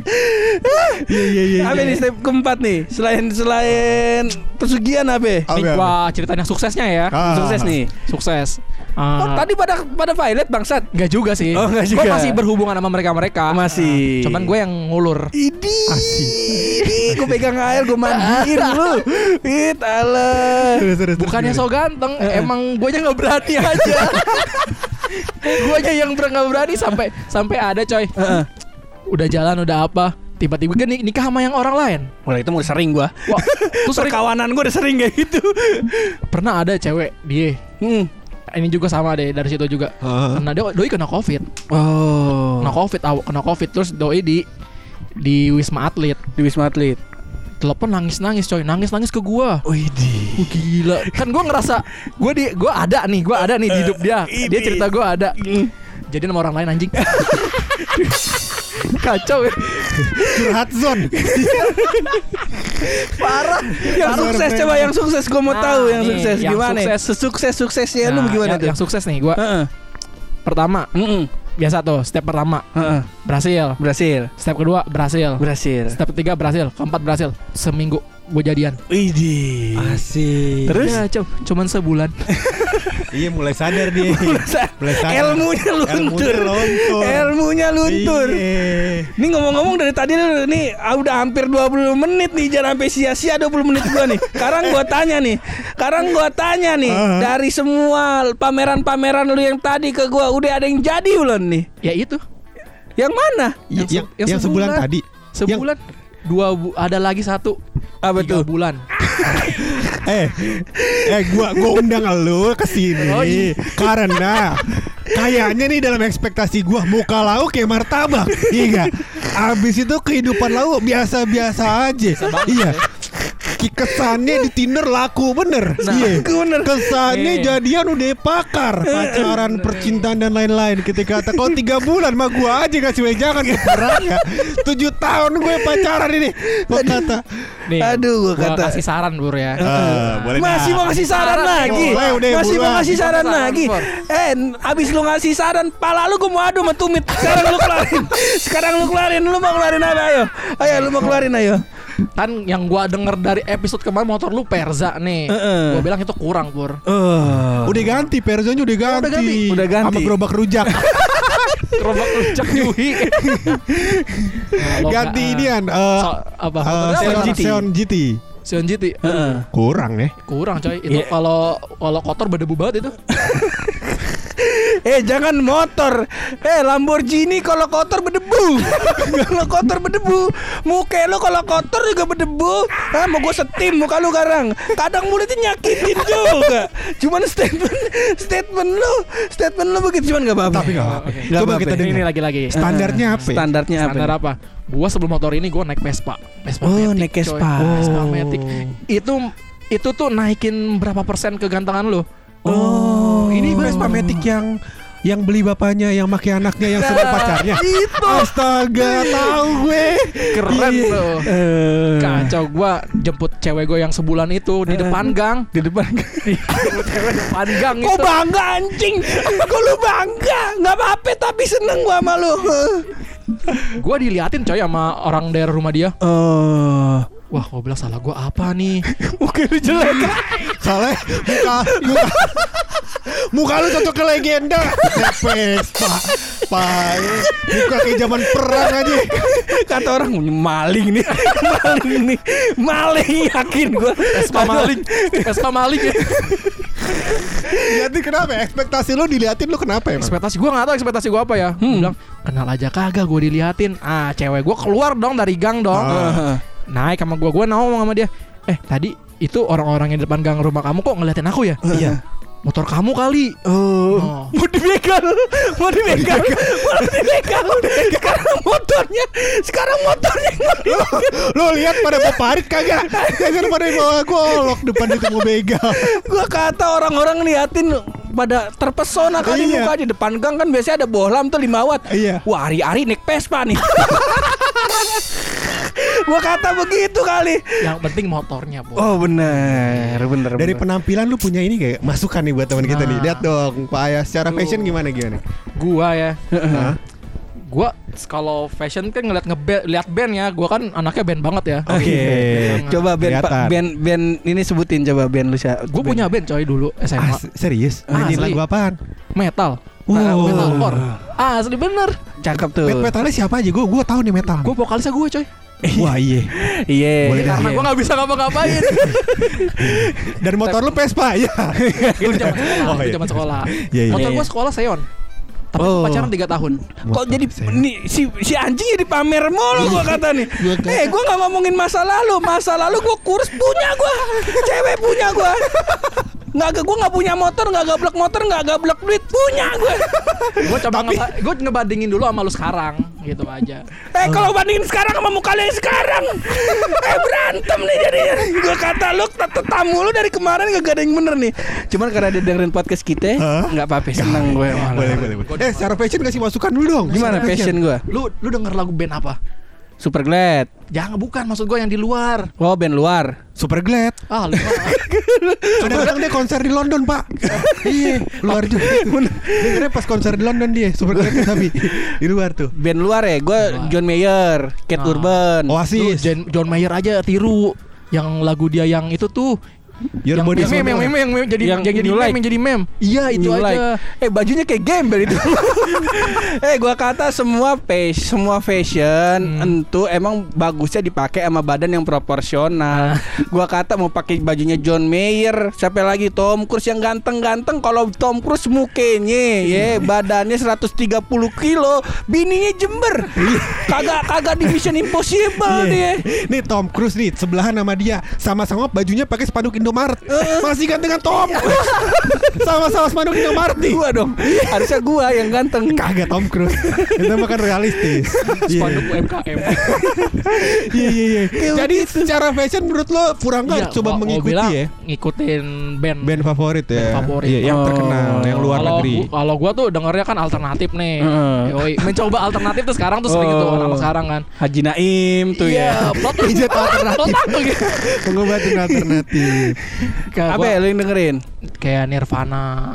A: Iya iya iya.
B: Apa nih step keempat nih? Selain selain pesugihan apa?
A: Apa,
C: Ini
A: apa?
C: gua ceritanya suksesnya ya.
A: Ah.
B: Sukses nih.
C: Sukses.
B: Oh,
C: Ah,
B: tadi pada pada violet bangsat.
C: Nggak juga sih.
B: Oh, nggak
C: Gua
B: juga. Oh,
C: masih berhubungan sama mereka-mereka.
B: Masih.
C: Ah, Cuman gue yang ngulur.
B: Idi, idi, gue pegang air, gue mandiin lu. It Allah.
A: Terus, terus, terus,
C: Bukannya
A: terus.
C: so ganteng,
B: Eh,
C: emang gue aja nggak berani aja. gue aja yang ber- nggak berani sampai sampai ada coy. Udah jalan udah apa? Tiba-tiba kan nik- nikah sama yang orang lain.
B: Mulai itu mulai sering gue.
C: Wah, terus sering-
B: Perkawanan gue udah sering kayak gitu.
C: pernah ada cewek dia
B: Hmm.
C: ini juga sama deh dari situ juga
A: Heeh.
C: kena do- doi kena covid
B: Oh.
C: kena covid aw- kena covid terus doi di di wisma atlet
B: Di Wisma Atlet.
C: telepon nangis nangis coy nangis nangis ke gua
B: Widi.
C: Wah, gila kan gua ngerasa gua di gua ada nih gua ada nih di hidup dia dia cerita gua ada
B: Hmm.
C: jadi sama orang lain anjing kacau ya
A: curhat zone.
B: Parah. Yang
A: Parah.
B: sukses coba yang sukses gue mau
C: Nah,
B: tahu yang
C: nih,
B: sukses
C: yang
B: gimana?
C: sukses.
B: Sesukses suksesnya Ya, lu
C: Nah,
B: gimana
C: yang,
B: tuh?
C: yang sukses nih gua
B: Heeh.
C: pertama
B: Mm-mm.
C: biasa tuh step pertama
B: Heeh.
C: berhasil
B: Berhasil.
C: step kedua berhasil
B: Berhasil.
C: step ketiga berhasil keempat berhasil seminggu gue jadian.
B: Widih.
A: Asik.
B: Terus?
C: Ya, cum- cuman sebulan.
A: Iya mulai sadar dia. mulai sadar.
B: Ilmunya luntur.
A: Ilmunya luntur.
B: Elmunya luntur.
A: Iya.
B: Nih ngomong-ngomong dari tadi lu nih ah, udah hampir 20 menit nih jangan sampai sia-sia 20 menit gua nih. Sekarang gua tanya nih. Sekarang gua tanya nih
A: Uh-huh.
B: dari semua pameran-pameran lu yang tadi ke gua udah ada yang jadi belum nih?
C: ya itu.
B: Yang mana?
A: Yang,
C: se-
A: yang, sebulan, tadi.
C: Sebulan. Dua bu- ada lagi satu.
B: Apa
C: tiga
B: tuh?
C: bulan.
A: Yang- eh eh gua gua undang lu ke sini
C: Oh, iya.
A: karena kayaknya nih dalam ekspektasi gua muka lauk kayak martabak. Iya. nggak? Abis itu kehidupan lauk biasa-biasa aja. Iya. Ki- Kesannya di Tinder laku bener Iya.
B: bener.
A: Kesannya
C: Iya.
A: jadian udah pakar Pacaran, percintaan dan lain-lain Ketika kata Kalau tiga bulan mah gue aja ngasih wejangan ke orangnya ya." Tujuh tahun gue pacaran ini Lo kata
C: Nih,
B: Aduh, gua kata-
C: kasih saran bur ya.
A: "Eh, boleh
B: Masih mau ngasih saran
C: Saran
B: lagi.
A: boleh, udah,
B: Masih mau
A: buruan.
B: ngasih saran
C: Saran,
B: lagi.
C: Por.
B: Eh, n- abis lu ngasih saran, pala lu gua mau adu sama tumit. Sekarang lu keluarin. Sekarang lu keluarin. Lu mau keluarin apa ayo? Ayo lu mau keluarin ayo.
C: Kan yang gua denger dari episode kemarin motor lu Perza nih.
B: Heeh.
C: Gua bilang itu kurang pur.
B: Eh.
A: Udah ganti Perzonnya udah ganti
C: ganti.
B: Udah ganti.
A: Sama gerobak rujak
C: Gerobak rujak Yui.
A: Ganti ini
C: ya.
A: an eh,
C: So- apa?
A: eh,
C: Apa?
A: Xeon
B: GT.
A: Xeon GT
C: Seon GT.
B: Heeh. Iya.
A: Kurang ya
C: Kurang coy. Itu kalau kalau kotor berdebu banget itu.
B: Eh jangan motor Eh Lamborghini kalau kotor berdebu Kalau kotor berdebu Muka lu kalau kotor juga berdebu ah, Mau gue setim muka lu karang Kadang mulutnya nyakitin juga Cuman statement Statement lu Statement lu begitu Cuman gak apa-apa
A: Tapi gak apa-apa
B: Nggak
A: Coba
B: apa-apa.
A: kita
C: Ini
A: dengar
C: lagi-lagi.
B: Iya,
A: Standarnya apa ya?
B: Standarnya apa
C: Standar apa? Gua sebelum motor ini gua naik Vespa. Vespa
B: Oh,
C: Matic,
B: naik
C: coy.
B: Vespa.
C: Vespa
B: Oh.
C: Matic. Itu itu tuh naikin berapa persen kegantengan lu?
A: Oh, ini Vespa Matic yang yang beli bapaknya, yang maki anaknya,
B: Nah,
A: yang sebut pacarnya. Itu. Astaga, tahu gue.
C: Keren
A: Iya.
C: lo.
B: Eh,
C: Kacau gua jemput cewek gua yang sebulan itu di depan gang.
B: Di depan
C: Jemput cewek depan gang gitu.
B: Kok
C: itu.
B: bangga anjing Kok lu bangga Gak apa-apa tapi seneng gua sama lu
C: Gua diliatin coy sama orang daerah rumah dia.
B: Oh
C: Wah, gua bilang salah gua apa nih?
B: Oke lu jelek
A: Soalnya muka muka muka lu cocok ke legenda. Naik Vespa. Pai. Muka kayak zaman perang aja.
B: kata orang maling nih maling nih maling yakin gue
C: Vespa maling. Vespa maling. ya.
A: Jadi kenapa? ya? Ekspektasi lu diliatin lu kenapa emang?
C: ekspektasi gua nggak tahu ekspektasi gua apa ya. Gua bilang kenal aja kagak gua diliatin. Ah, cewek gua keluar dong dari gang dong.
A: Ah.
C: Naik sama gua, gua ngomong sama dia. Eh, tadi itu orang-orang yang di depan gang rumah kamu kok ngeliatin aku ya?
B: Ah.
A: Iya.
C: Motor kamu kali. Oh.
B: mau dibegal mau dibegal mau dibegal sekarang motornya sekarang motornya mau dibegal
A: Lu lihat pada bawa parit kagak? Kagak pada bawa golok depan itu mau begal.
B: gue kata orang-orang ngeliatin pada terpesona kali
A: Iya.
B: mukanya depan gang kan biasanya ada bohlam tuh lima watt
A: Iya.
B: wah hari-hari naik Vespa nih gue kata begitu kali
C: Yang penting motornya, Bu.
B: oh bener bener
A: Dari penampilan lu punya ini kayak masukan nih buat teman kita nih.
C: Nah.
A: Lihat dong, Pak Ayah secara fashion gimana gimana?
C: Gua ya.
A: Hah?
C: Gua kalau fashion kan ngeliat ngebe lihat band ya. Gua kan anaknya band banget ya.
B: Oke. Coba band Pak,
A: Kelihatan.
B: band band ini sebutin coba band lu Sya.
C: Gua punya band coy dulu
A: Ah,
C: SMA.
A: se- serius?
C: Ah,
A: Nyanyiin
C: asli.
A: lagu apaan?
C: Metal.
A: Wow.
C: Metalcore. Ah, asli bener.
B: cakep tuh.
A: Met- metalnya siapa aja? Gue gue tahu nih metal.
C: Gua vokalisnya gue coy.
A: Wah iya.
B: Iya.
A: Boleh dah.
C: Karena gua nggak bisa ngapa-ngapain.
A: Dan motor lu Vespa ya.
C: itu zaman sekolah,
A: Oh,
C: itu
A: iya.
C: zaman sekolah.
A: Iya, iya.
C: Motor gua sekolah Seon. Tapi gua
B: Oh.
C: pacaran 3 tahun.
B: Kok jadi nih si si anjingnya dipamer mulu gua kata nih. Eh, gua nggak ngomongin masa lalu. Masa lalu gua kurus punya gua. Cewek punya gua. Nggak, gua nggak punya motor, nggak gablek motor, nggak gablek duit punya gua.
C: Gua coba ngeba- gua ngebandingin dulu sama lu sekarang gitu aja.
B: Eh, kalau bandingin sekarang sama muka lu yang sekarang, eh berantem nih jadinya. Gua kata lu tet- tamu lu dari kemarin gak ada yang bener nih. Cuman karena dia dengerin podcast kita,
A: Hah?
B: nggak apa-apa, seneng gue. malah.
A: boleh boleh boleh. Eh secara fashion kasih masukan dulu dong.
B: Gimana
A: Secara
B: passion gue?
C: Lu lu denger lagu band apa?
B: Super Glad.
C: Jangan bukan maksud gua yang di luar.
B: Oh, band luar.
A: Super Glad.
C: Ah, lu
A: Kadang-kadang dia konser di London pak. iya. Luar juga. Dengarnya pas konser di London dia. Super Glad tapi di luar tuh.
B: Band luar ya, gue
C: luar.
B: John Mayer, Kate
C: Ah.
A: Oh,
B: Urban.
C: Lu
A: Oasis.
C: Jen- John Mayer aja tiru. Yang lagu dia yang itu tuh
A: Your
C: yang
A: body is
C: yang meme,
A: my
C: yang
A: own.
C: meme, yang meme, jadi
D: Yang
C: yang jadi
D: you
C: meme,
D: like.
C: yang jadi meme. Iya itu
D: You
C: aja.
D: like.
B: Eh bajunya kayak gembel itu. eh gua kata semua face, semua fashion
C: Hmm.
B: itu emang bagusnya dipakai sama badan yang proporsional. Gua kata mau pakai bajunya John Mayer, siapa lagi Tom Cruise yang ganteng-ganteng kalau Tom Cruise mukanya ya badannya 130 kilo, bininya jember. kagak kagak di Mission Impossible
A: Iya.
B: dia.
A: Nih Tom Cruise nih sebelahan sama dia sama-sama bajunya pakai spanduk Indomaret
C: Eh.
A: masih gantengan Tom
C: Iya.
A: Cruise sama-sama spanduk Indomaret nih
B: Gua dong. Harusnya gua yang ganteng.
A: kagak Tom Cruise itu makan realistis Iya.
C: Spanduk UMKM.
A: iya iya iya jadi secara fashion menurut lo Furangga coba
C: gitu. Iya, gua- gua
A: mengikuti
C: bilang
A: ya
C: ngikutin band.
A: band favorit ya
C: Band favorit. Oh.
A: Iya, yang terkenal yang luar
C: kalau
A: negeri
C: gua- kalau gua tuh dengernya kan alternatif nih. Yoi, mencoba alternatif tuh sekarang tuh sering itu
D: Oh.
C: anak sekarang kan. Gitu
D: Haji Naim tuh
B: Iya.
D: ya.
C: plot hijab alternatif.
A: pengobatin alternatif
C: Kayak
B: Apa
C: gua-
B: ya lu yang dengerin?
C: kayak Nirvana.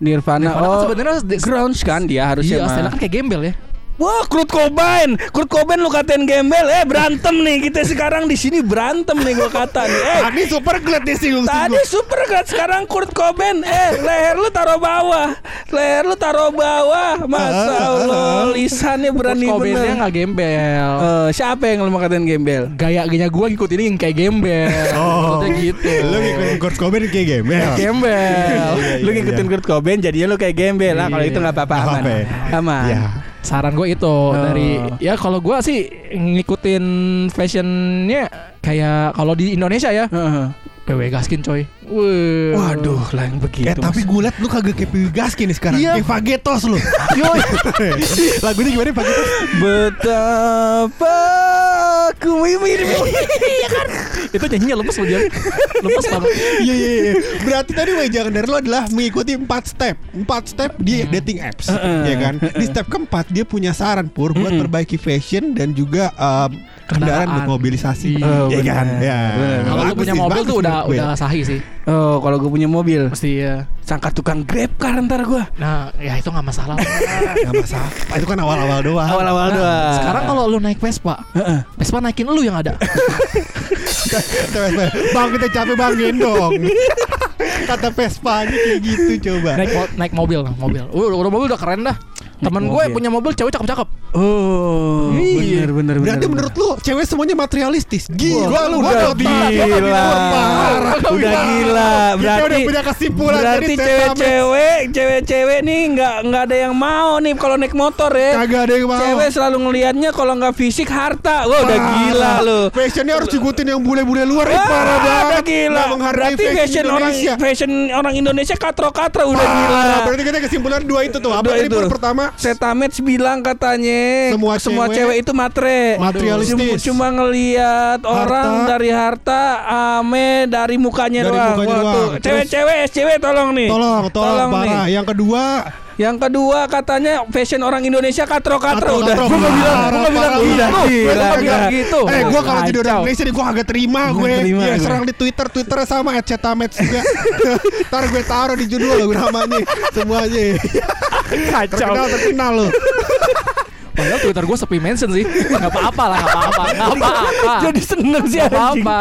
B: Nirvana.
C: Nirvana kan
B: oh,
C: sebenarnya di-
B: grunge kan dia harusnya.
C: Iya,
B: mah.
C: Stella kan kayak gembel ya.
B: Wah, Kurt Cobain. Kurt Cobain lu katain gembel. Eh, berantem nih. Kita sekarang di sini berantem nih gua kata nih. Eh,
A: tadi super glad nih singgung
B: tadi super kan sekarang Kurt Cobain. Eh, leher lu taruh bawah. Leher lu taruh bawah. Masa Allah, lisannya berani
C: Kobennya
B: bener.
C: nggak gembel.
B: Eh, siapa yang lu mau katain gembel?
C: Gaya-gaya gua ngikutin yang kayak gembel.
A: Oh.
C: Maksudnya gitu.
A: Lo ngikutin Kurt Cobain kayak gembel
B: Gembel.
A: iya,
B: lu
A: iya,
B: ngikutin
A: iya.
B: Kurt Cobain jadinya lu kayak gembel. Lah, kalau itu nggak apa-apa
A: Nggak
B: aman.
A: apa-apa ya.
B: Aman.
A: Iya.
C: Saran gue itu
B: Oh.
C: dari ya kalau gua sih ngikutin fashionnya kayak kalau di Indonesia ya
B: Heeh.
C: PW Gaskin coy. Wih.
B: Waduh, lah yang begitu.
A: Eh tapi gue liat lu kagak kayak Piwi Gaskin nih sekarang
C: Iya.
A: Kayak Fagetos lu Lagunya gimana Fagetos?
B: Betapa aku
C: Itu nyanyinya lemes loh dia. Lemes banget.
A: Iya iya iya Berarti tadi wejangan dari lo adalah mengikuti 4 step 4 step di dating apps ya kan Di step keempat dia punya saran Pur Buat perbaiki fashion dan juga um, Hmm. Kendaraan
C: Kendaraan.
A: bermobilisasi Iya
C: Iya,
A: kan Ya,
C: Kalau lu
A: bagus
C: punya
A: sih,
C: mobil
A: bagus
C: tuh udah
A: menurut gue.
C: udah sahih sih.
B: Oh, kalau gue punya mobil,
C: Mesti ya.
B: sangka tukang grab car ntar gue.
C: Nah, ya itu nggak masalah.
A: Gak masalah Itu kan awal-awal doang
B: Awal-awal
A: Ah.
B: doang.
C: Sekarang kalau lu naik Vespa, Vespa naikin lu yang ada.
A: Bang kita capek bang gendong Kata Vespa kayak gitu coba
C: naik mo- naik mobil lah, mobil. Udah, udah mobil udah keren dah. Temen gue
B: mobil.
C: punya mobil cewek cakep-cakep.
B: oh, bener
A: Iya.
B: bener.
A: Berarti
B: bener,
A: menurut lu cewek semuanya materialistis. Gila lu
B: udah gila. Udah gila.
A: Berarti udah
B: Berarti
A: punya kesimpulan
B: berarti
A: Jadi
B: cewek-cewek, cewek-cewek nih nggak nggak ada yang mau nih kalau naik motor ya.
A: Kagak ada yang mau.
B: Cewek selalu ngelihatnya kalau nggak fisik harta. Wah, udah
A: Parah.
B: gila lu.
A: Fashionnya harus ikutin yang bule-bule luar ih,
B: Wah,
A: parah
B: udah
A: banget.
B: gila.
A: Nggak menghargai
B: Berarti fashion orang
A: Indonesia.
B: fashion orang Indonesia katro-katro udah
A: Parah.
B: gila.
A: Berarti kita kesimpulan dua itu tuh. Apa
B: Dua
A: tadi
B: itu.
A: Pur? pertama?
B: Setamets bilang katanya
A: Semua cewek-
B: cewek, itu matre
A: Materialistis.
B: Cuma, cuma ngelihat orang dari harta Ame dari mukanya
A: Dari
B: doang
A: mukanya
B: Wah,
A: doang.
B: tuh,
A: Terus-
B: Cewek-cewek SCW tolong nih
A: Tolong, tolong,
B: nih.
A: parah. Yang kedua,
B: Yang kedua katanya fashion orang Indonesia katro-katro udah
A: katro,
B: Gua nggak bilang gua
A: parah,
B: nggak bilang
A: parah,
B: gitu
A: parah.
B: Gua
A: Gila,
B: nggak bilang
A: gila.
B: gitu
A: Eh, gue kalau jadi orang
C: Kacau.
A: Indonesia nih, gue agak terima gue.
B: terima
A: Ya,
B: gue.
A: serang di Twitter, Twitternya sama @cetamets juga. Ntar gue taruh di judul lagu namanya semuanya.
C: Kacau.
A: Terkenal terkenal lo.
C: Padahal Twitter gue sepi mention sih. Gak apa-apa lah, gak apa-apa. Gak apa-apa.
B: Jadi seneng sih
C: Gak
B: anjing
C: apa-apa.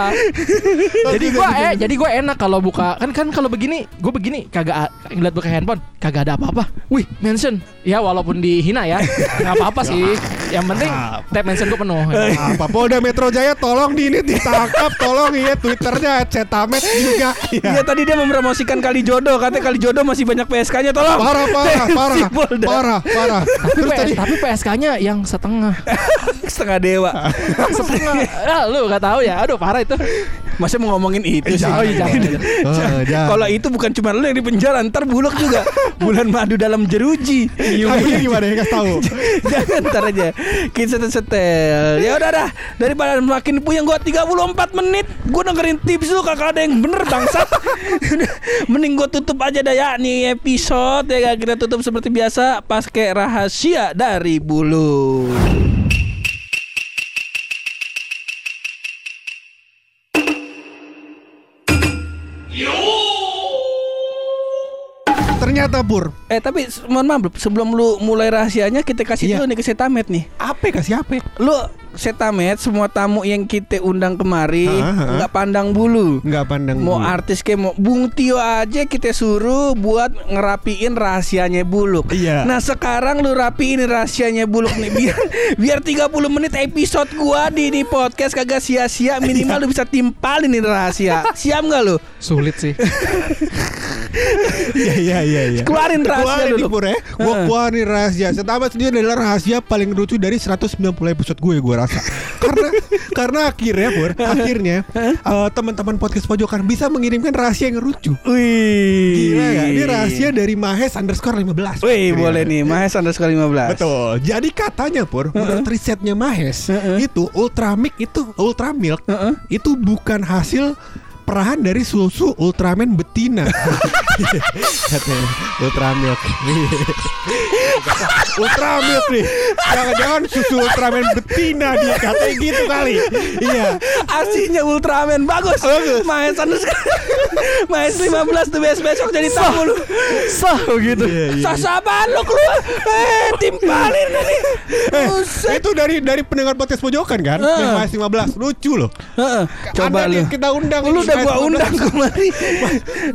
C: jadi gue eh, jadi gue enak kalau buka kan kan kalau begini gue begini kagak a- ngeliat buka handphone kagak ada apa-apa. Wih mention ya walaupun dihina ya nggak apa-apa sih. Yang penting tab mention gue penuh.
A: apa Nah, Polda Metro Jaya tolong di ini ditangkap tolong ya Twitternya @cetamets juga.
B: Iya
A: Ya.
B: tadi dia mempromosikan kali jodoh katanya kali jodoh masih banyak PSK-nya tolong
A: Parah parah parah
B: Polda.
A: parah parah.
C: Tapi,
A: Terus
C: P-
A: tadi
C: tapi PSK-nya yang setengah.
B: setengah dewa
C: setengah. Ah, lu nggak tahu ya? Aduh parah itu.
B: masa mau ngomongin itu sih Iya.
C: jangan, jangan, jangan.
A: Oh, jangan.
B: kalau itu bukan cuma lu yang di penjara ntar bulog juga bulan madu dalam jeruji
A: Kakinya gimana ya kasih tahu.
B: jangan ntar aja kita setel setel ya udah dah daripada makin puyeng gua 34 menit gua dengerin tips lu kakak ada yang bener bangsat mending gua tutup aja dah ya nih episode ya kita tutup seperti biasa pas kayak rahasia dari bulu
A: Ternyata Pur.
B: eh tapi se- mohon maaf sebelum lu mulai rahasianya kita kasih
A: Iya.
B: dulu nih ke setamet nih
A: Apa kasih apa?
B: lu setamet semua tamu yang kita undang kemari
A: Ha, ha.
B: nggak pandang bulu.
A: nggak pandang
B: Mau
A: bulu.
B: artis kayak mau Bung Tio aja kita suruh buat ngerapiin rahasianya buluk.
A: Iya.
B: Nah sekarang lu rapiin rahasianya buluk nih biar biar 30 menit episode gua di di podcast kagak sia-sia minimal lu bisa timpalin nih rahasia. Siap nggak lu?
C: Sulit sih.
A: Iya iya iya iya.
B: Keluarin rahasia
A: Keluarin nih
B: dulu.
A: pur ya Gua keluarin rahasia Setamat sendiri adalah rahasia paling lucu dari 190 episode gue gue rasa Karena karena akhirnya pur Akhirnya eh, teman-teman podcast pojokan bisa mengirimkan rahasia yang lucu
B: Wih.
A: Gila gak? Ini rahasia dari Mahes underscore 15 Pur.
B: Iya. Wih
A: Iya.
B: boleh nih Mahes underscore 15
A: Betul. Jadi katanya pur, menurut risetnya Mahes, itu Ultramilk itu Ultramilk itu bukan hasil perahan dari susu Ultraman betina. katanya Ultramilk. Ultramilk nih. Jangan-jangan susu Ultraman betina dia katanya gitu kali. Iya.
B: Aslinya Ultraman Bagus Mahes underscore Mahes 15 tuh besok-besok jadi tamu lu
C: Sah gitu.
A: Iya, iya.
B: Sasaban lu keluar Eh timpalin ini Buset
A: Eh, Itu dari dari pendengar podcast pojokan kan?
B: Heeh.
A: Yang Mahes 15 lucu loh.
B: Heeh, Coba
A: Ada
B: lu
A: nih, kita undang
B: Lu
A: nih,
B: udah
A: Mahes
B: gua
A: 15.
B: undang kemari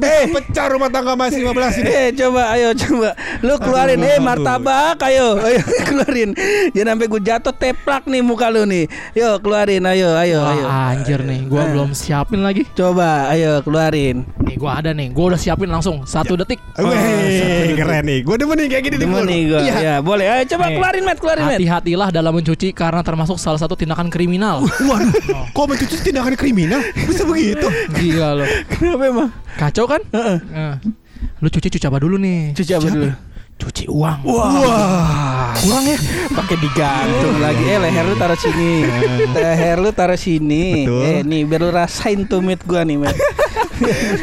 A: Eh, pecah rumah tangga Mahes 15 ini.
B: Eh coba ayo coba Lu keluarin
A: Aduh,
B: Eh
A: aduh.
B: martabak ayo Ayo keluarin Jangan sampai gue jatuh teplak nih muka lu nih Yo keluarin ayo ayo ayo
C: Wah, Ah, anjir nih, gua belum siapin lagi.
B: Coba ayo keluarin
C: Nih gua ada nih, gua udah siapin langsung satu detik.
B: Oh,
A: Wih, keren nih. Gue demen nih kayak gini
B: Demen
A: Pur.
B: nih gue
A: Iya.
B: Ya boleh Ayo coba
C: Nih.
B: keluarin Matt Keluarin Matt
C: Hati-hatilah dalam mencuci karena termasuk salah satu tindakan kriminal.
A: Waduh,
B: iya.
A: kok mencuci tindakan kriminal? Bisa begitu?
C: Gila lo.
B: Kenapa emang?
C: Kacau kan?
B: Heeh.
C: Nah, Lu cuci cuci apa dulu nih?
B: Cuci apa dulu?
C: Cuci uang.
B: Wah, kurang ya? Pakai digantung lagi. Eh, leher lu taruh sini. leher lu taruh sini.
A: Betul.
B: Eh, nih biar lu rasain tumit gua nih, Matt.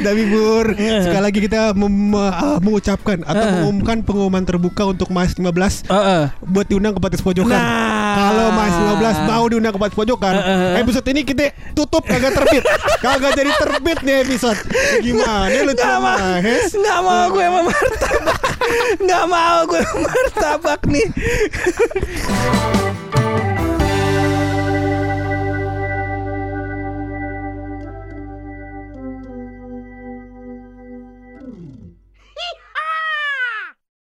A: Tapi Pur,
B: Iya.
A: sekali lagi kita mem- eh, mengucapkan atau mengumumkan pengumuman terbuka untuk Mas 15
B: Heeh.
A: buat diundang ke Patis Pojokan.
B: Nah. Iya,
A: Kalau Mas 15 mau diundang ke Patis Pojokan, episode ini kita tutup kagak terbit. kagak jadi terbit nih episode. Gimana lu
B: Nggak
A: sama
B: mau,
A: Mahes?
B: nggak mau gue sama martabak. Nggak mau gue sama martabak nih.